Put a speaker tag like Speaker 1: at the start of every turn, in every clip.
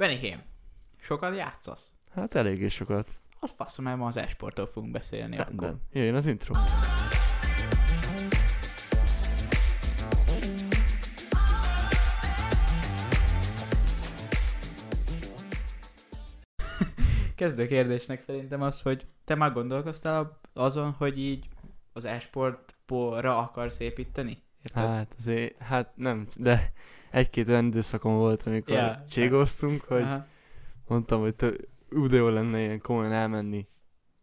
Speaker 1: Benikém, sokat játszasz?
Speaker 2: Hát eléggé sokat.
Speaker 1: Az faszom, mert ma az esportról fogunk beszélni
Speaker 2: Hát
Speaker 1: akkor.
Speaker 2: Rendben. Jöjjön az intro.
Speaker 1: Kezdő kérdésnek szerintem az, hogy te már gondolkoztál azon, hogy így az esportra akarsz építeni? Érted?
Speaker 2: Hát azért, hát nem, de egy-két olyan időszakom volt, amikor
Speaker 1: Ja, ja.
Speaker 2: yeah, cségoztunk, hogy
Speaker 1: Aha.
Speaker 2: mondtam, hogy tő, úgy jó lenne ilyen komolyan elmenni.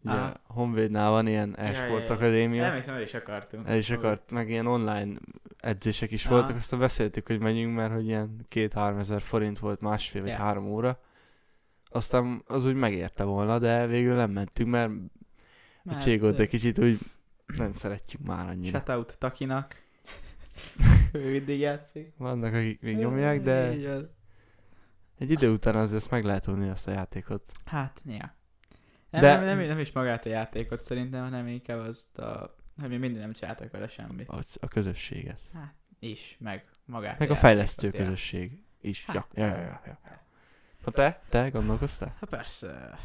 Speaker 2: Ugye
Speaker 1: Aha.
Speaker 2: a Honvédnál van ilyen
Speaker 1: ja,
Speaker 2: e-sport
Speaker 1: ja.
Speaker 2: akadémia.
Speaker 1: Nem hiszem, el is akartunk.
Speaker 2: El is akart, meg ilyen online edzések is
Speaker 1: Aha.
Speaker 2: voltak, aztán beszéltük, hogy menjünk, mert hogy ilyen két-három ezer forint volt másfél vagy
Speaker 1: Ja.
Speaker 2: három óra. Aztán az úgy megérte volna, de végül nem mentünk, mert a
Speaker 1: Mert-
Speaker 2: cségot egy kicsit úgy nem szeretjük már annyira.
Speaker 1: Shoutout Takinak. ő mindig játszik.
Speaker 2: Vannak, akik még nyomják, de
Speaker 1: Így van.
Speaker 2: egy idő után az ezt meg lehet unni azt a játékot.
Speaker 1: Hát, ja. Nem,
Speaker 2: De-
Speaker 1: de... nem, nem, nem, is magát a játékot szerintem, hanem inkább azt a... Hogy mi mindig nem csináltak vele semmit.
Speaker 2: Ahogy A közösséget.
Speaker 1: Is, meg magát
Speaker 2: Meg a
Speaker 1: játékot,
Speaker 2: fejlesztő
Speaker 1: ja.
Speaker 2: közösség is.
Speaker 1: Hát.
Speaker 2: Ja, ja, ja, ja, ja. Na te? Te gondolkoztál?
Speaker 1: Hát persze.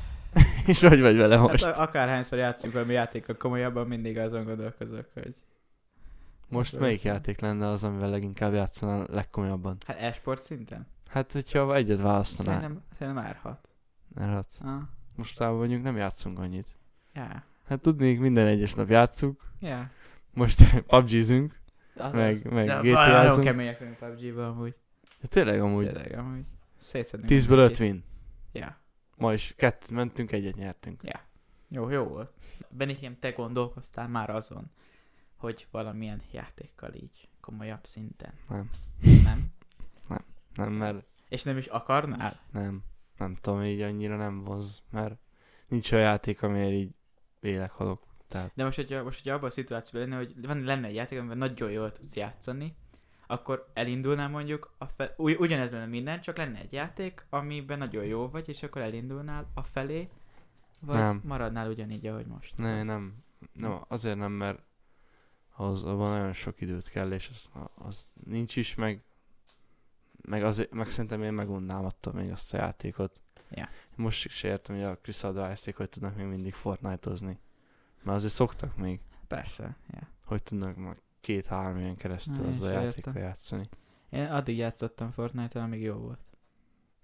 Speaker 2: És hogy vagy vele
Speaker 1: Most.
Speaker 2: most?
Speaker 1: Hát a- akárhányszor játszunk valami játékkal komolyabban, mindig azon gondolkozok, hogy Szóval
Speaker 2: Most melyik játék lenne az, amivel leginkább játszanál legkomolyabban?
Speaker 1: hát e-sport szinten?
Speaker 2: Hát, hogyha egyet választanál.
Speaker 1: Szerintem, szerintem árhat.
Speaker 2: Mert hát
Speaker 1: Ah,
Speaker 2: mostában mondjuk nem játszunk annyit.
Speaker 1: já,
Speaker 2: Hát tudnék, minden egyes nap játszunk.
Speaker 1: já.
Speaker 2: Most PUBG-zünk,
Speaker 1: Az az.
Speaker 2: meg, meg
Speaker 1: Hát, De nagyon
Speaker 2: GTA-zunk.
Speaker 1: kemények vagyunk PUBG-ban amúgy.
Speaker 2: Ja, tényleg amúgy.
Speaker 1: Tényleg amúgy. Szétszedünk.
Speaker 2: 10-ből 5 win.
Speaker 1: Ja.
Speaker 2: Ma is kettőt mentünk, egyet nyertünk.
Speaker 1: Jó, jó volt. Benikém, te gondolkoztál már azon, hogy valamilyen játékkal így komolyabb szinten,
Speaker 2: Nem,
Speaker 1: nem?
Speaker 2: nem, mert
Speaker 1: És nem is akarnál?
Speaker 2: nem, nem tudom, így annyira nem vonz, mert nincs olyan játék, amiért így élek halok. Tehát
Speaker 1: De most, hogyha, most, hogyha abban a szituációban lenne, hogy van, lenne egy játék, amiben nagyon jól tudsz játszani, akkor elindulnál mondjuk, a fe- ugy, ugyanez lenne minden, csak lenne egy játék, amiben nagyon jó vagy, és akkor elindulnál a felé, vagy
Speaker 2: Nem.
Speaker 1: nem. maradnál ugyanígy, ahogy most.
Speaker 2: nem, nem, nem, azért nem, mert ahhoz abban nagyon sok időt kell, és az, az nincs is, meg, meg, azért, meg szerintem én megunnám attól még azt a játékot.
Speaker 1: Ja.
Speaker 2: Most is értem, hogy a Chris advice hogy tudnak még mindig Fortnite-ozni. Mert azért szoktak még,
Speaker 1: Persze, ja.
Speaker 2: hogy tudnak már két-három ilyen keresztül
Speaker 1: Na,
Speaker 2: az
Speaker 1: én
Speaker 2: a
Speaker 1: is
Speaker 2: játékkal
Speaker 1: értem.
Speaker 2: játszani.
Speaker 1: Én addig játszottam Fortnite-tel, amíg jó volt.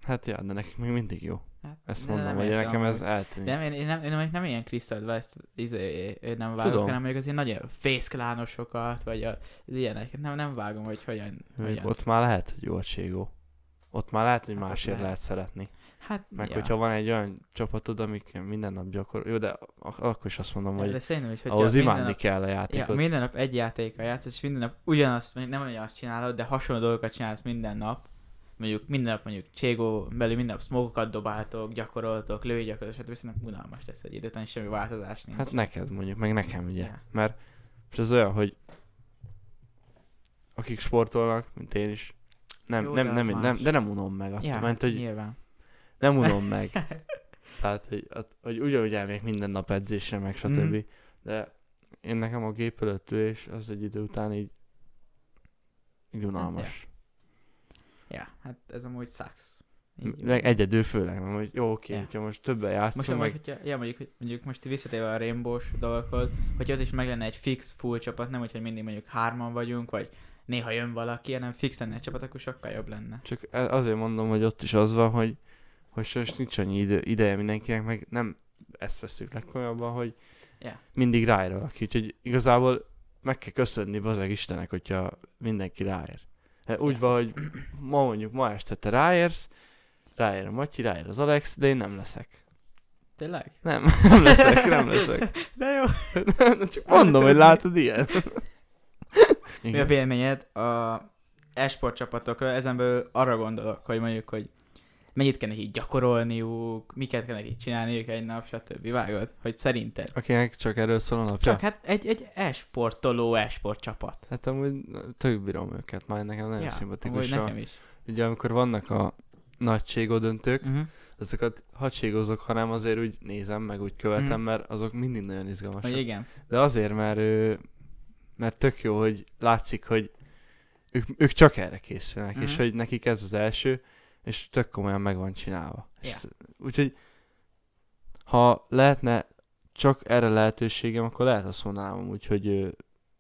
Speaker 2: Hát ja, de nekik még mindig jó.
Speaker 1: Hát,
Speaker 2: Ezt
Speaker 1: de
Speaker 2: mondom,
Speaker 1: nem
Speaker 2: hogy
Speaker 1: értem
Speaker 2: nekem ez
Speaker 1: amúgy.
Speaker 2: eltűnik.
Speaker 1: De nem, én, én nem, én nem, nem ilyen Chris Advice-t izé, én nem vágok,
Speaker 2: Tudom.
Speaker 1: Tudom. hanem mondjuk az ilyen nagyon fészklánosokat, vagy a, az ilyeneket. Nem, nem vágom, hogy hogyan.
Speaker 2: Még
Speaker 1: hogyan.
Speaker 2: ott már lehet, hogy jó a Cségó. Ott már lehet, hogy
Speaker 1: Hát ott
Speaker 2: másért
Speaker 1: lehet.
Speaker 2: lehet szeretni.
Speaker 1: hát,
Speaker 2: Meg hogyha van egy olyan csapatod, amik minden nap gyakorol... Jó, de ak- akkor is azt mondom,
Speaker 1: De
Speaker 2: hogy
Speaker 1: szerintem is, hogyha
Speaker 2: ahhoz
Speaker 1: minden
Speaker 2: imádni
Speaker 1: nap-
Speaker 2: kell a
Speaker 1: Ja,
Speaker 2: játékot.
Speaker 1: minden nap egy játékkal játszol, és minden nap ugyanazt, mondjuk nem ugyanazt csinálod, de hasonló dolgokat csinálsz minden nap. Mondjuk minden nap mondjuk Cségó belül minden nap smokokat dobáltok, gyakoroltok, lői gyakorlatok, stb. Szerintem unalmas lesz egy idő után, és semmi változás nincs.
Speaker 2: Hát neked mondjuk, meg nekem ugye.
Speaker 1: Ja.
Speaker 2: Mert most az olyan, hogy akik sportolnak, mint én is, nem,
Speaker 1: Jó,
Speaker 2: nem,
Speaker 1: de
Speaker 2: nem,
Speaker 1: az
Speaker 2: nem, nem,
Speaker 1: más.
Speaker 2: de nem unom meg. Attól,
Speaker 1: ja, hát
Speaker 2: mert hogy
Speaker 1: nyilván.
Speaker 2: nem unom meg. Tehát, hogy, att- hogy ugyanúgy elmegyek minden nap edzésre, meg stb.
Speaker 1: Mhm.
Speaker 2: De én nekem a gép előtt ülés az egy idő után így, így unalmas.
Speaker 1: Ja, hát ez amúgy sucks.
Speaker 2: M- Meg egyedül főleg, mert hogy jó, oké,
Speaker 1: Ja.
Speaker 2: hogyha most többen játszom,
Speaker 1: Most
Speaker 2: most meg
Speaker 1: amúgy, hogyha, ja, mondjuk, hogy- mondjuk most visszatérve a rainbows dolgokhoz, hogy az is meg lenne egy fix full csapat, nem úgy, hogy mindig mondjuk hárman vagyunk, vagy néha jön valaki, hanem fix lenne egy csapat, akkor sokkal jobb lenne.
Speaker 2: csak e- azért mondom, hogy ott is az van, hogy hogy sajnos nincs annyi idő, ideje mindenkinek, meg nem ezt veszük legkomolyabban, hogy
Speaker 1: Ja.
Speaker 2: mindig ráér valaki, úgyhogy igazából meg kell köszönni bazeg Istenek, hogyha mindenki ráér. Hát Úgy
Speaker 1: Ja.
Speaker 2: van, hogy ma mondjuk ma este te ráérsz, ráér a Matyi, ráér az Alex, de én nem leszek.
Speaker 1: Tényleg?
Speaker 2: Nem, nem leszek, nem leszek.
Speaker 1: De jó.
Speaker 2: Csak mondom, hogy látod ilyen.
Speaker 1: Mi a
Speaker 2: Igen.
Speaker 1: véleményed a esport csapatokra? Ezen belül arra gondolok, hogy mondjuk, hogy mennyit kell nekik gyakorolniuk, miket kell nekik csinálniuk egy nap, stb. Vágod? Hogy szerinted?
Speaker 2: Akinek csak erről szól a napja.
Speaker 1: Csak hát egy, egy esportoló esport csapat.
Speaker 2: Hát amúgy tök bírom őket, már nekem nagyon ja, szimpatikus.
Speaker 1: amúgy
Speaker 2: a-
Speaker 1: nekem is.
Speaker 2: Ugye amikor vannak a nagységó döntők,
Speaker 1: Uh-huh.
Speaker 2: azokat hadségozok, hanem azért úgy nézem, meg úgy követem,
Speaker 1: Mm.
Speaker 2: mert azok mindig nagyon izgalmasak.
Speaker 1: Hogy igen.
Speaker 2: De azért, mert, ő, mert tök jó, hogy látszik, hogy ők, ők csak erre készülnek, és
Speaker 1: Mhm.
Speaker 2: hogy nekik ez az első, és tök komolyan meg van csinálva. És
Speaker 1: Ja.
Speaker 2: ez- Úgyhogy ha lehetne csak erre lehetőségem, akkor lehet azt mondanám úgy, hogy ö,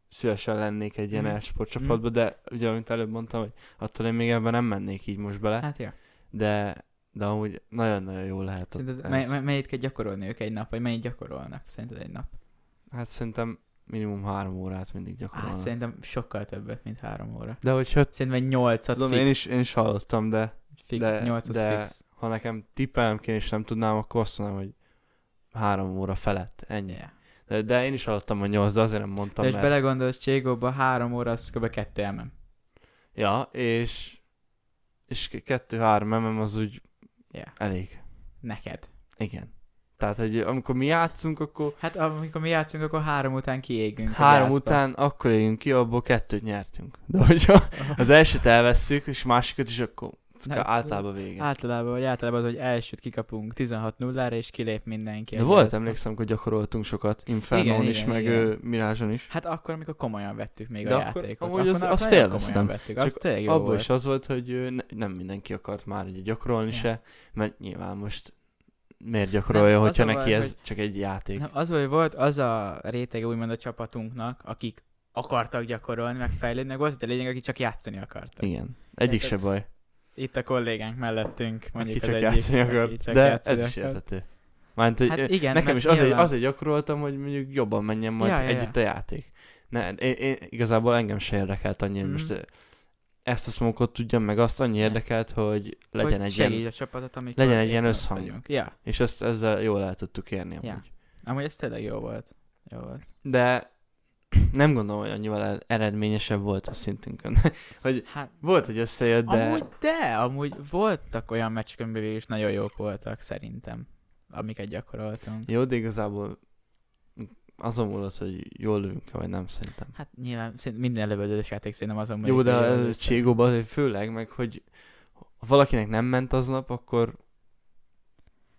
Speaker 2: szívesen lennék egy ilyen
Speaker 1: Mhm.
Speaker 2: e-sportcsapatba, de ugye, amit előbb mondtam, hogy attól én még ebben nem mennék így most bele,
Speaker 1: Hát ja.
Speaker 2: de, de amúgy nagyon-nagyon jó lehet. ott
Speaker 1: Szerinted
Speaker 2: ez.
Speaker 1: mely, mely, melyet kell gyakorolni ők egy nap, vagy mennyit gyakorolnak szerinted egy nap?
Speaker 2: Hát szerintem minimum három órát mindig gyakorolnak.
Speaker 1: Hát szerintem sokkal többet, mint három óra.
Speaker 2: de hogyha
Speaker 1: Szerintem 8 fix.
Speaker 2: tudom, én is, én is hallottam, de
Speaker 1: fix,
Speaker 2: de-
Speaker 1: 8
Speaker 2: de-
Speaker 1: fix.
Speaker 2: ha nekem tippelem kéne és nem tudnám, akkor azt mondanám, hogy három óra felett, ennyi.
Speaker 1: Yeah.
Speaker 2: De, de én is hallottam a nyolc, de azért nem mondtam,
Speaker 1: De és
Speaker 2: mert... Bele...
Speaker 1: belegondolsz Cségóba, három óra, az kb. kettő emem.
Speaker 2: Ja, és... És k- kettő-három mm az úgy
Speaker 1: Yeah.
Speaker 2: elég.
Speaker 1: Neked.
Speaker 2: Igen. Tehát, hogy amikor mi játszunk, akkor
Speaker 1: Hát amikor mi játszunk, akkor három után kiégünk. a
Speaker 2: három
Speaker 1: gyászba.
Speaker 2: után akkor éljünk ki, abból kettőt nyertünk. De hogyha az elsőt elvesszük, és másikat is, akkor
Speaker 1: Hát,
Speaker 2: általában vége.
Speaker 1: Általában, vagy általában, az, hogy elsőt kikapunk 16-0-ra, és kilép mindenki.
Speaker 2: De
Speaker 1: a
Speaker 2: volt,
Speaker 1: gyászba.
Speaker 2: emlékszem, hogy gyakoroltunk sokat, Infernón
Speaker 1: Igen,
Speaker 2: is,
Speaker 1: igen,
Speaker 2: meg
Speaker 1: igen.
Speaker 2: ö, Mirázson is.
Speaker 1: Hát akkor, amikor komolyan vettük még
Speaker 2: De
Speaker 1: a
Speaker 2: akkor-
Speaker 1: játékot.
Speaker 2: amúgy az-
Speaker 1: akkor
Speaker 2: azt
Speaker 1: nagyon
Speaker 2: élveztem.
Speaker 1: komolyan Vettük. Az
Speaker 2: Csak
Speaker 1: tényleg jó
Speaker 2: Abban
Speaker 1: volt.
Speaker 2: is az volt, hogy ö, ne, nem mindenki akart már ugye gyakorolni
Speaker 1: Ja.
Speaker 2: se, mert nyilván most miért gyakorolja,
Speaker 1: Nem, az
Speaker 2: hogyha
Speaker 1: a baj,
Speaker 2: neki ez
Speaker 1: hogy-
Speaker 2: csak egy játék.
Speaker 1: Nem, az, hogy volt az a réteg úgymond a csapatunknak, akik akartak gyakorolni, meg fejlődni, meg volt itt a lényeg, aki csak játszani akartak.
Speaker 2: Igen. Egyik
Speaker 1: Tehát
Speaker 2: se baj,
Speaker 1: Itt a kollégánk mellettünk, mondjuk
Speaker 2: aki csak
Speaker 1: az
Speaker 2: játszani
Speaker 1: egyik, aki
Speaker 2: akart,
Speaker 1: csak
Speaker 2: de
Speaker 1: játszani
Speaker 2: ez is
Speaker 1: akart.
Speaker 2: érthető. Mert hogy
Speaker 1: Hát
Speaker 2: ö,
Speaker 1: igen,
Speaker 2: nekem
Speaker 1: mert
Speaker 2: is azért,
Speaker 1: nyilván-
Speaker 2: azért gyakoroltam, hogy mondjuk jobban menjen majd
Speaker 1: Ja, ja, ja.
Speaker 2: együtt a játék. Ne, én, én, igazából engem se érdekelt annyi, hogy
Speaker 1: Mhm.
Speaker 2: most ö, ezt a smokot tudjam, meg azt annyi
Speaker 1: Ja.
Speaker 2: érdekelt, hogy legyen
Speaker 1: hogy
Speaker 2: egy
Speaker 1: segíts
Speaker 2: ilyen,
Speaker 1: a csapatot, amikor
Speaker 2: legyen egy
Speaker 1: éppen
Speaker 2: ilyen
Speaker 1: ott
Speaker 2: összhang.
Speaker 1: vagyunk. Ja,
Speaker 2: és ezt ezzel jól el tudtuk érni amúgy.
Speaker 1: Ja. amúgy ez tényleg jó volt. Jó volt.
Speaker 2: de nem gondolom, hogy annyival el- eredményesebb volt a szintünkön.
Speaker 1: Hát,
Speaker 2: Volt, hogy összejött,
Speaker 1: de...
Speaker 2: de
Speaker 1: amúgy de, amúgy voltak olyan meccsek, amiben végül is nagyon jók voltak szerintem, amiket gyakoroltunk.
Speaker 2: jó, de igazából azon múlott, hogy jól lövünk-e, vagy nem szerintem.
Speaker 1: Hát nyilván szerint minden lövöldözős játék szerintem azon
Speaker 2: Jó,
Speaker 1: múlik,
Speaker 2: de
Speaker 1: hogy jól
Speaker 2: a
Speaker 1: lősz.
Speaker 2: Cségóban azért főleg, meg hogy ha valakinek nem ment aznap, akkor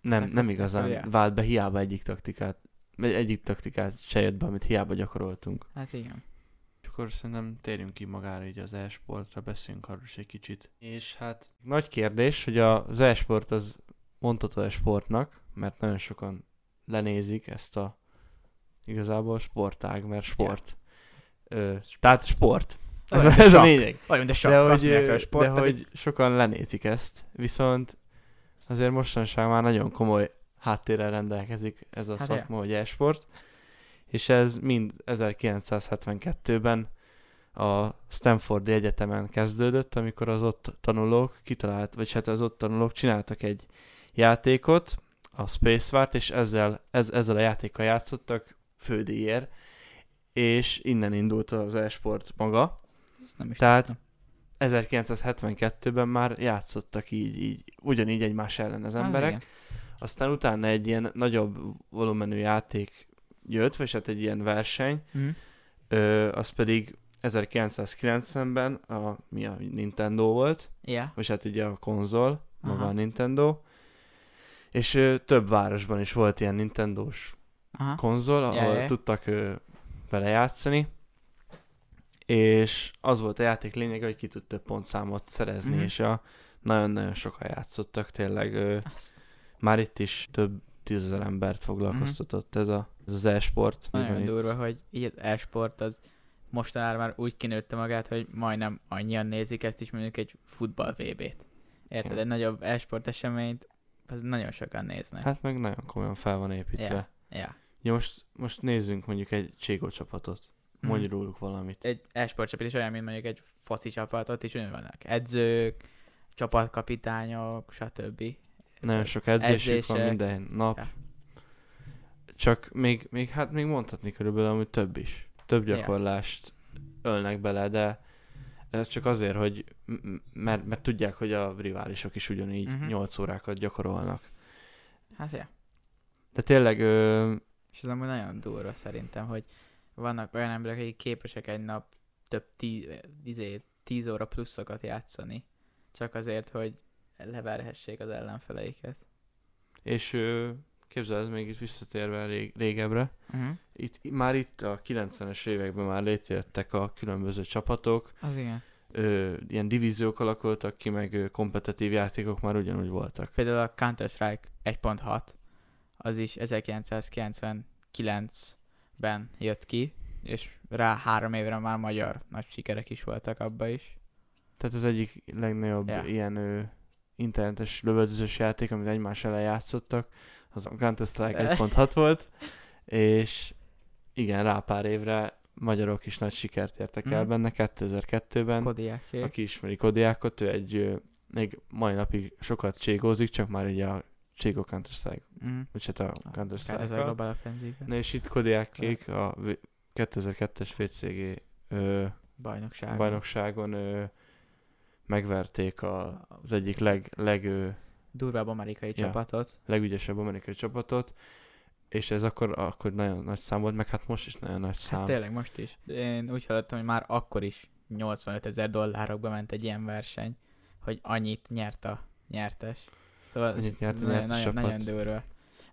Speaker 2: nem,
Speaker 1: Akkor-
Speaker 2: nem igazán
Speaker 1: akkor, ja.
Speaker 2: vált be hiába egyik taktikát, vagy egyik taktikát se jött be, amit hiába gyakoroltunk.
Speaker 1: Hát igen.
Speaker 2: És akkor szerintem térjünk ki magára így az e-sportra, beszéljünk arról is egy kicsit. És hát nagy kérdés, hogy az e-sport az mondható-e sportnak, mert nagyon sokan lenézik ezt a igazából sportág, mert sport. Ö, tehát sport. Ez,
Speaker 1: Olyan,
Speaker 2: a-
Speaker 1: de
Speaker 2: ez a
Speaker 1: sakk.
Speaker 2: lényeg.
Speaker 1: Olyan, de sok,
Speaker 2: De
Speaker 1: azt
Speaker 2: hogy,
Speaker 1: mondják rá,
Speaker 2: ö,
Speaker 1: a sport,
Speaker 2: de hogy sokan lenézik ezt, viszont azért mostanság már nagyon komoly háttérrel rendelkezik ez a
Speaker 1: Hát ja.
Speaker 2: szakma, hogy e-sport, és ez mind 1972-ben a Stanfordi Egyetemen kezdődött, amikor az ott tanulók kitalált, vagy hát az ott tanulók csináltak egy játékot, a Space Wart, és ezzel, ez, ezzel a játékkal játszottak fődíjért, és innen indult az e-sport maga.
Speaker 1: Ezt nem is
Speaker 2: Tehát-
Speaker 1: tudtam.
Speaker 2: 1972-ben már játszottak így, így ugyanígy egymás ellen az
Speaker 1: Hát
Speaker 2: emberek.
Speaker 1: igen.
Speaker 2: Aztán utána egy ilyen nagyobb volumenű játék jött, vagy hát egy ilyen verseny,
Speaker 1: Mhm.
Speaker 2: ö, az pedig 1990-ben a, mi a Nintendo volt,
Speaker 1: Ja.
Speaker 2: vagy hát ugye a konzol, maga
Speaker 1: Aha.
Speaker 2: a Nintendo, és ö, több városban is volt ilyen Nintendós
Speaker 1: Aha.
Speaker 2: konzol,
Speaker 1: Ja,
Speaker 2: ahol
Speaker 1: ja.
Speaker 2: tudtak ö, vele játszani, és az volt a játék lényege, hogy ki tud több pontszámot szerezni,
Speaker 1: Mhm.
Speaker 2: és a, nagyon-nagyon sokan játszottak, tényleg ö,
Speaker 1: Azt-
Speaker 2: már itt is több tízezer embert foglalkoztatott ez, a, ez az e-sport.
Speaker 1: Nagyon
Speaker 2: Így van
Speaker 1: durva,
Speaker 2: Itt.
Speaker 1: hogy így az e-sport az mostanára már úgy kinőtte magát, hogy majdnem annyian nézik ezt is, mondjuk egy futball VB-t. Érted?
Speaker 2: Igen.
Speaker 1: Egy nagyobb e-sport eseményt, az nagyon sokan néznek.
Speaker 2: Hát meg nagyon komolyan fel van építve.
Speaker 1: Ja. Ja.
Speaker 2: Ja, most, most nézzünk mondjuk egy Cségó csapatot. Mondj
Speaker 1: Mhm.
Speaker 2: róluk valamit.
Speaker 1: Egy e-sport csapat is olyan, mint mondjuk egy foci csapat, ott is ugyanúgy vannak edzők, csapatkapitányok, stb.
Speaker 2: Nagyon sok edzésük van
Speaker 1: edzések.
Speaker 2: minden nap.
Speaker 1: Ja.
Speaker 2: Csak még, még, hát még mondhatni körülbelül, amúgy több is. Több
Speaker 1: Ja.
Speaker 2: gyakorlást ölnek bele, de ez csak azért, hogy m- m- mert, mert tudják, hogy a riválisok is ugyanígy
Speaker 1: Mhm.
Speaker 2: 8 órákat gyakorolnak.
Speaker 1: Hát ja.
Speaker 2: De tényleg ö,
Speaker 1: És ez amúgy nagyon durva szerintem, hogy vannak olyan emberek, akik képesek egy nap több tíz, tíz, tíz óra pluszokat játszani, csak azért, hogy leverhessék az ellenfeleiket.
Speaker 2: és ö, képzeld, még itt visszatérve rég, régebbre,
Speaker 1: Uh-huh.
Speaker 2: itt, már itt a 90-es években már létrejöttek a különböző csapatok,
Speaker 1: Az igen.
Speaker 2: ö, ilyen divíziók alakultak ki, meg ö, kompetitív játékok már ugyanúgy voltak.
Speaker 1: Például a Counter-Strike 1.6, az is 1999-ben jött ki, és rá három évre már magyar nagy sikerek is voltak abba is.
Speaker 2: Tehát az egyik legnagyobb
Speaker 1: Ja.
Speaker 2: yeah. ilyen ö, internetes lövöldözős játék, amit egymás ellen játszottak, az a Counter-Strike 1.6 volt, és igen, rá pár évre magyarok is nagy sikert értek el
Speaker 1: Mhm.
Speaker 2: benne 2002-ben.
Speaker 1: Kodiákék.
Speaker 2: Aki ismeri Kodiákot, ő egy ö, még mai napig sokat cségózik, csak már ugye a Cségó Counter-Strike,
Speaker 1: Mm.
Speaker 2: vagy hát a
Speaker 1: Tehát ez a
Speaker 2: Counter-Strike.
Speaker 1: Global Offensive
Speaker 2: Na és itt Kodiákék a v- 2002-es VCG ö,
Speaker 1: bajnokság.
Speaker 2: bajnokságon ö, megverték a, az egyik leg, leg, ö,
Speaker 1: Durvább amerikai
Speaker 2: Ja.
Speaker 1: csapatot.
Speaker 2: legügyesebb amerikai csapatot, és ez akkor, akkor nagyon nagy szám volt, meg hát most is nagyon nagy szám.
Speaker 1: Hát tényleg most is. Én úgy hallottam, hogy már akkor is 85 ezer dollárokba ment egy ilyen verseny, hogy annyit nyert a nyertes. Szóval
Speaker 2: Annyit
Speaker 1: ez
Speaker 2: nyert a
Speaker 1: nagyon-
Speaker 2: nyertes
Speaker 1: nagyon,
Speaker 2: csapat.
Speaker 1: nagyon durva.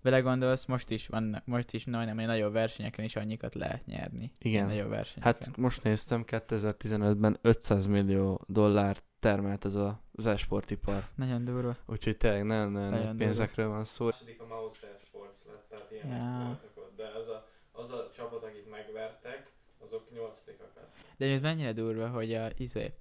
Speaker 1: Belegondolsz, most is vannak, most is majdnem egy nagyobb versenyeken is annyikat lehet nyerni.
Speaker 2: Igen.
Speaker 1: Nagyobb versenyeken.
Speaker 2: Hát most néztem, 2015-ben 500 millió dollár termelt ez a, az e-sportipar.
Speaker 1: Nagyon durva.
Speaker 2: Úgyhogy tényleg nagyon, nagyon
Speaker 1: Nagyon
Speaker 2: nagy
Speaker 1: durva.
Speaker 2: pénzekről van szó.
Speaker 3: második a Mouse Sports lett, tehát ilyenek
Speaker 1: Ja.
Speaker 3: voltak ott, de az a, az a csapat, akit megvertek, azok nyolcadikak lettek.
Speaker 1: De ez mennyire durva, hogy a izé,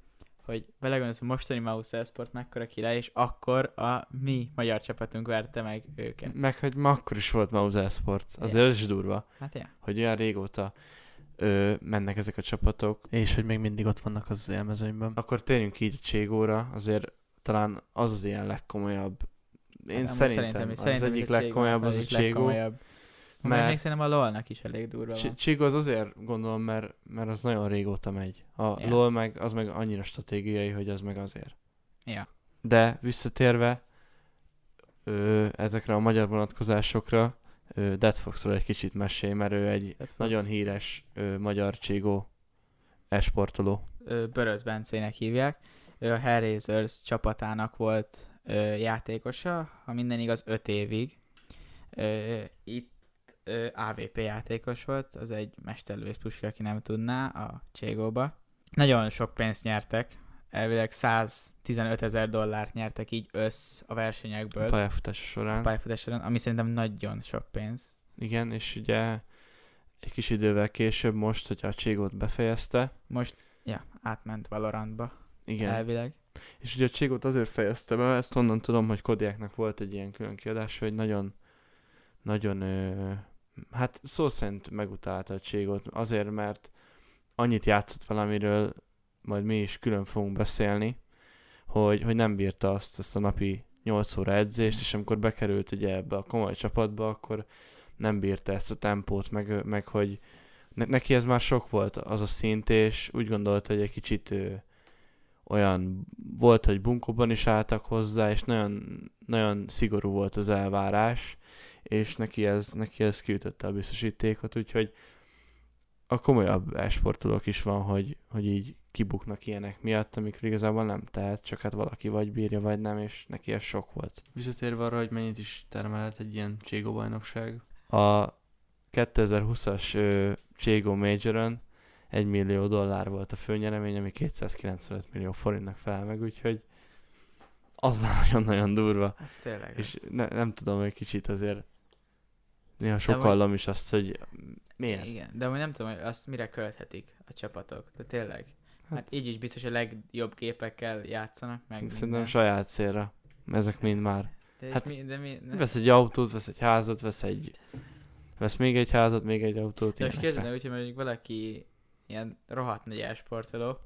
Speaker 1: hogy belegondolsz a mostani Mouse Sport mekkora király, és akkor a mi magyar csapatunk verte meg őket.
Speaker 2: Meg, hogy ma akkor is volt Mouse Esport. Azért ez is durva,
Speaker 1: Hát ja.
Speaker 2: hogy olyan régóta ö, mennek ezek a csapatok, és hogy még mindig ott vannak az élmezőnyben. Akkor térjünk így a Cségóra, azért talán az az ilyen legkomolyabb. Én
Speaker 1: Hát, amúgy
Speaker 2: szerintem, szerintem, az
Speaker 1: szerintem
Speaker 2: egyik
Speaker 1: ez a Cségó,
Speaker 2: legkomolyabb az a
Speaker 1: egyik
Speaker 2: Cségó.
Speaker 1: legkomolyabb. Mert
Speaker 2: mert-
Speaker 1: még szerintem a LOL-nak is elég durva van.
Speaker 2: Csi- Csigo az azért gondolom, mert, mert az nagyon régóta megy. A
Speaker 1: Ja.
Speaker 2: LOL meg az meg annyira stratégiai, hogy az meg azért.
Speaker 1: Ja.
Speaker 2: De visszatérve ö, ezekre a magyar vonatkozásokra, ö, Dead Foxról egy kicsit mesélj, mert ő egy
Speaker 1: Tehát fog-
Speaker 2: nagyon híres ö, magyar cségó esportoló.
Speaker 1: ö, Börös Bencének hívják. Ő a Hellraisers csapatának volt ö, játékosa, ha minden igaz, 5 évig. Ö, itt ö, AVP játékos volt, az egy mesterlövész puska, aki nem tudná, a Cségóba. Nagyon sok pénzt nyertek, elvileg 115 ezer dollárt nyertek így össz a
Speaker 2: a
Speaker 1: versenyekből
Speaker 2: pályafutása során.
Speaker 1: pályafutáson, ami szerintem nagyon sok pénz.
Speaker 2: Igen, és ugye egy kis idővel később most, hogyha a cségót befejezte,
Speaker 1: Most, ja, átment Valorantba,
Speaker 2: igen,
Speaker 1: elvileg.
Speaker 2: És ugye a Cségot azért fejezte be, ezt onnan tudom, hogy Kodiáknak volt egy ilyen külön kiadása, hogy nagyon, nagyon, ö, hát szó szerint megutálta a Cségot, azért, mert annyit játszott valamiről, majd mi is külön fogunk beszélni, hogy, hogy nem bírta azt, ezt a napi 8 óra edzést, és amikor bekerült ugye ebbe a komoly csapatba, akkor nem bírta ezt a tempót, meg, meg hogy ne, neki ez már sok volt az a szint, és úgy gondolta, hogy egy kicsit ö, olyan volt, hogy bunkóban is álltak hozzá, és nagyon, nagyon szigorú volt az elvárás, és neki ez, neki ez kiütötte a biztosítékot, úgyhogy a komolyabb esportolók is van, hogy, hogy így kibuknak ilyenek miatt, amikor igazából nem tehet, csak hát valaki vagy bírja, vagy nem, és neki ez sok volt. Visszatérve arra, hogy mennyit is termelhet egy ilyen Cségó bajnokság. A 2020-as ö, Cségó Majoron 1 millió dollár volt a főnyeremény, ami 295 millió forintnak felel meg, úgyhogy az már nagyon-nagyon durva.
Speaker 1: Ez tényleg.
Speaker 2: És ne, nem tudom, egy kicsit azért néha
Speaker 1: vagy-
Speaker 2: sokallom is azt, hogy miért.
Speaker 1: Igen, de amúgy nem tudom, hogy azt mire költhetik a csapatok. De tényleg. Hát,
Speaker 2: Hát,
Speaker 1: így is biztos a legjobb gépekkel játszanak meg.
Speaker 2: szerintem
Speaker 1: minden.
Speaker 2: saját célra. Ezek mind már.
Speaker 1: de
Speaker 2: hát
Speaker 1: hát, mi, de mi, ne,
Speaker 2: Vesz egy autót, vesz egy házat, vesz egy... Vesz még egy házat, még egy autót,
Speaker 1: de most
Speaker 2: ilyenekre.
Speaker 1: képzeld el úgy, hogy mondjuk valaki ilyen rohadt nagy elsportoló,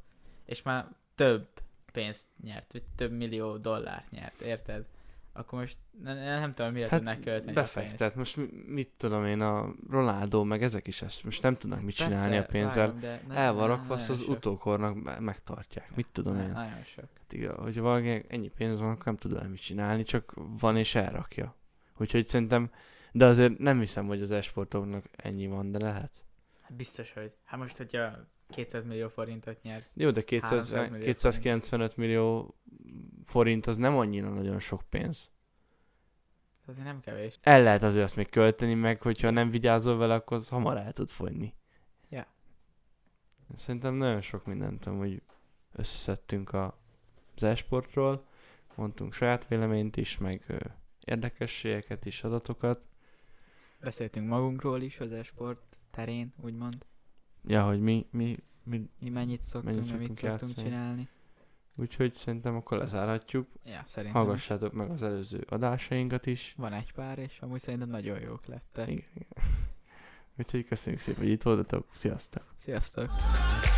Speaker 1: és már több pénzt nyert, vagy több millió dollárt nyert, érted? Akkor most ne, ne, nem tudom, mire hát, tudnak költeni
Speaker 2: befektet.
Speaker 1: a
Speaker 2: Most mi- mit tudom én, a Ronaldo, meg ezek is ezt most nem tudnak mit
Speaker 1: pénzt.
Speaker 2: csinálni a pénzel.
Speaker 1: vágom, de ne-
Speaker 2: El van
Speaker 1: ne-
Speaker 2: rakva, azt az
Speaker 1: nagyon sok.
Speaker 2: utókornak me- megtartják. Mit tudom
Speaker 1: Ne-
Speaker 2: én.
Speaker 1: Nagyon sok.
Speaker 2: Hát igen, hogyha valakinek ennyi pénz van, akkor nem tud vele mit csinálni, csak van és elrakja. Úgyhogy szerintem, de azért nem hiszem, hogy az esportoknak ennyi van, de lehet.
Speaker 1: Hát biztos, hogy. Hát most, hogyha 200 millió forintot nyersz.
Speaker 2: Jó, de 200,
Speaker 1: 300 millió
Speaker 2: 295 millió forint az nem annyira nagyon sok pénz.
Speaker 1: az Azért nem kevés.
Speaker 2: El lehet azért azt még költeni, meg hogyha nem vigyázol vele, akkor az hamar el tud fogyni.
Speaker 1: Ja.
Speaker 2: Szerintem nagyon sok mindent amúgy összeszedtünk a, az e-sportról, mondtunk saját véleményt is, meg ö, érdekességeket is, adatokat.
Speaker 1: Beszéltünk magunkról is az esport terén, úgymond.
Speaker 2: Ja, hogy mi, mi, mi
Speaker 1: Mi mennyit szoktunk, mennyit
Speaker 2: szoktunk
Speaker 1: mit szoktunk
Speaker 2: játszani.
Speaker 1: csinálni.
Speaker 2: úgyhogy szerintem akkor lezárhatjuk.
Speaker 1: Ja, szerintem. is.
Speaker 2: Hallgassátok meg az előző adásainkat is.
Speaker 1: Van egy pár, és amúgy szerintem nagyon jók lettek.
Speaker 2: Igen, igen. Úgyhogy köszönjük szépen, hogy itt voltatok. Sziasztok!
Speaker 1: Sziasztok!
Speaker 3: Sziasztok!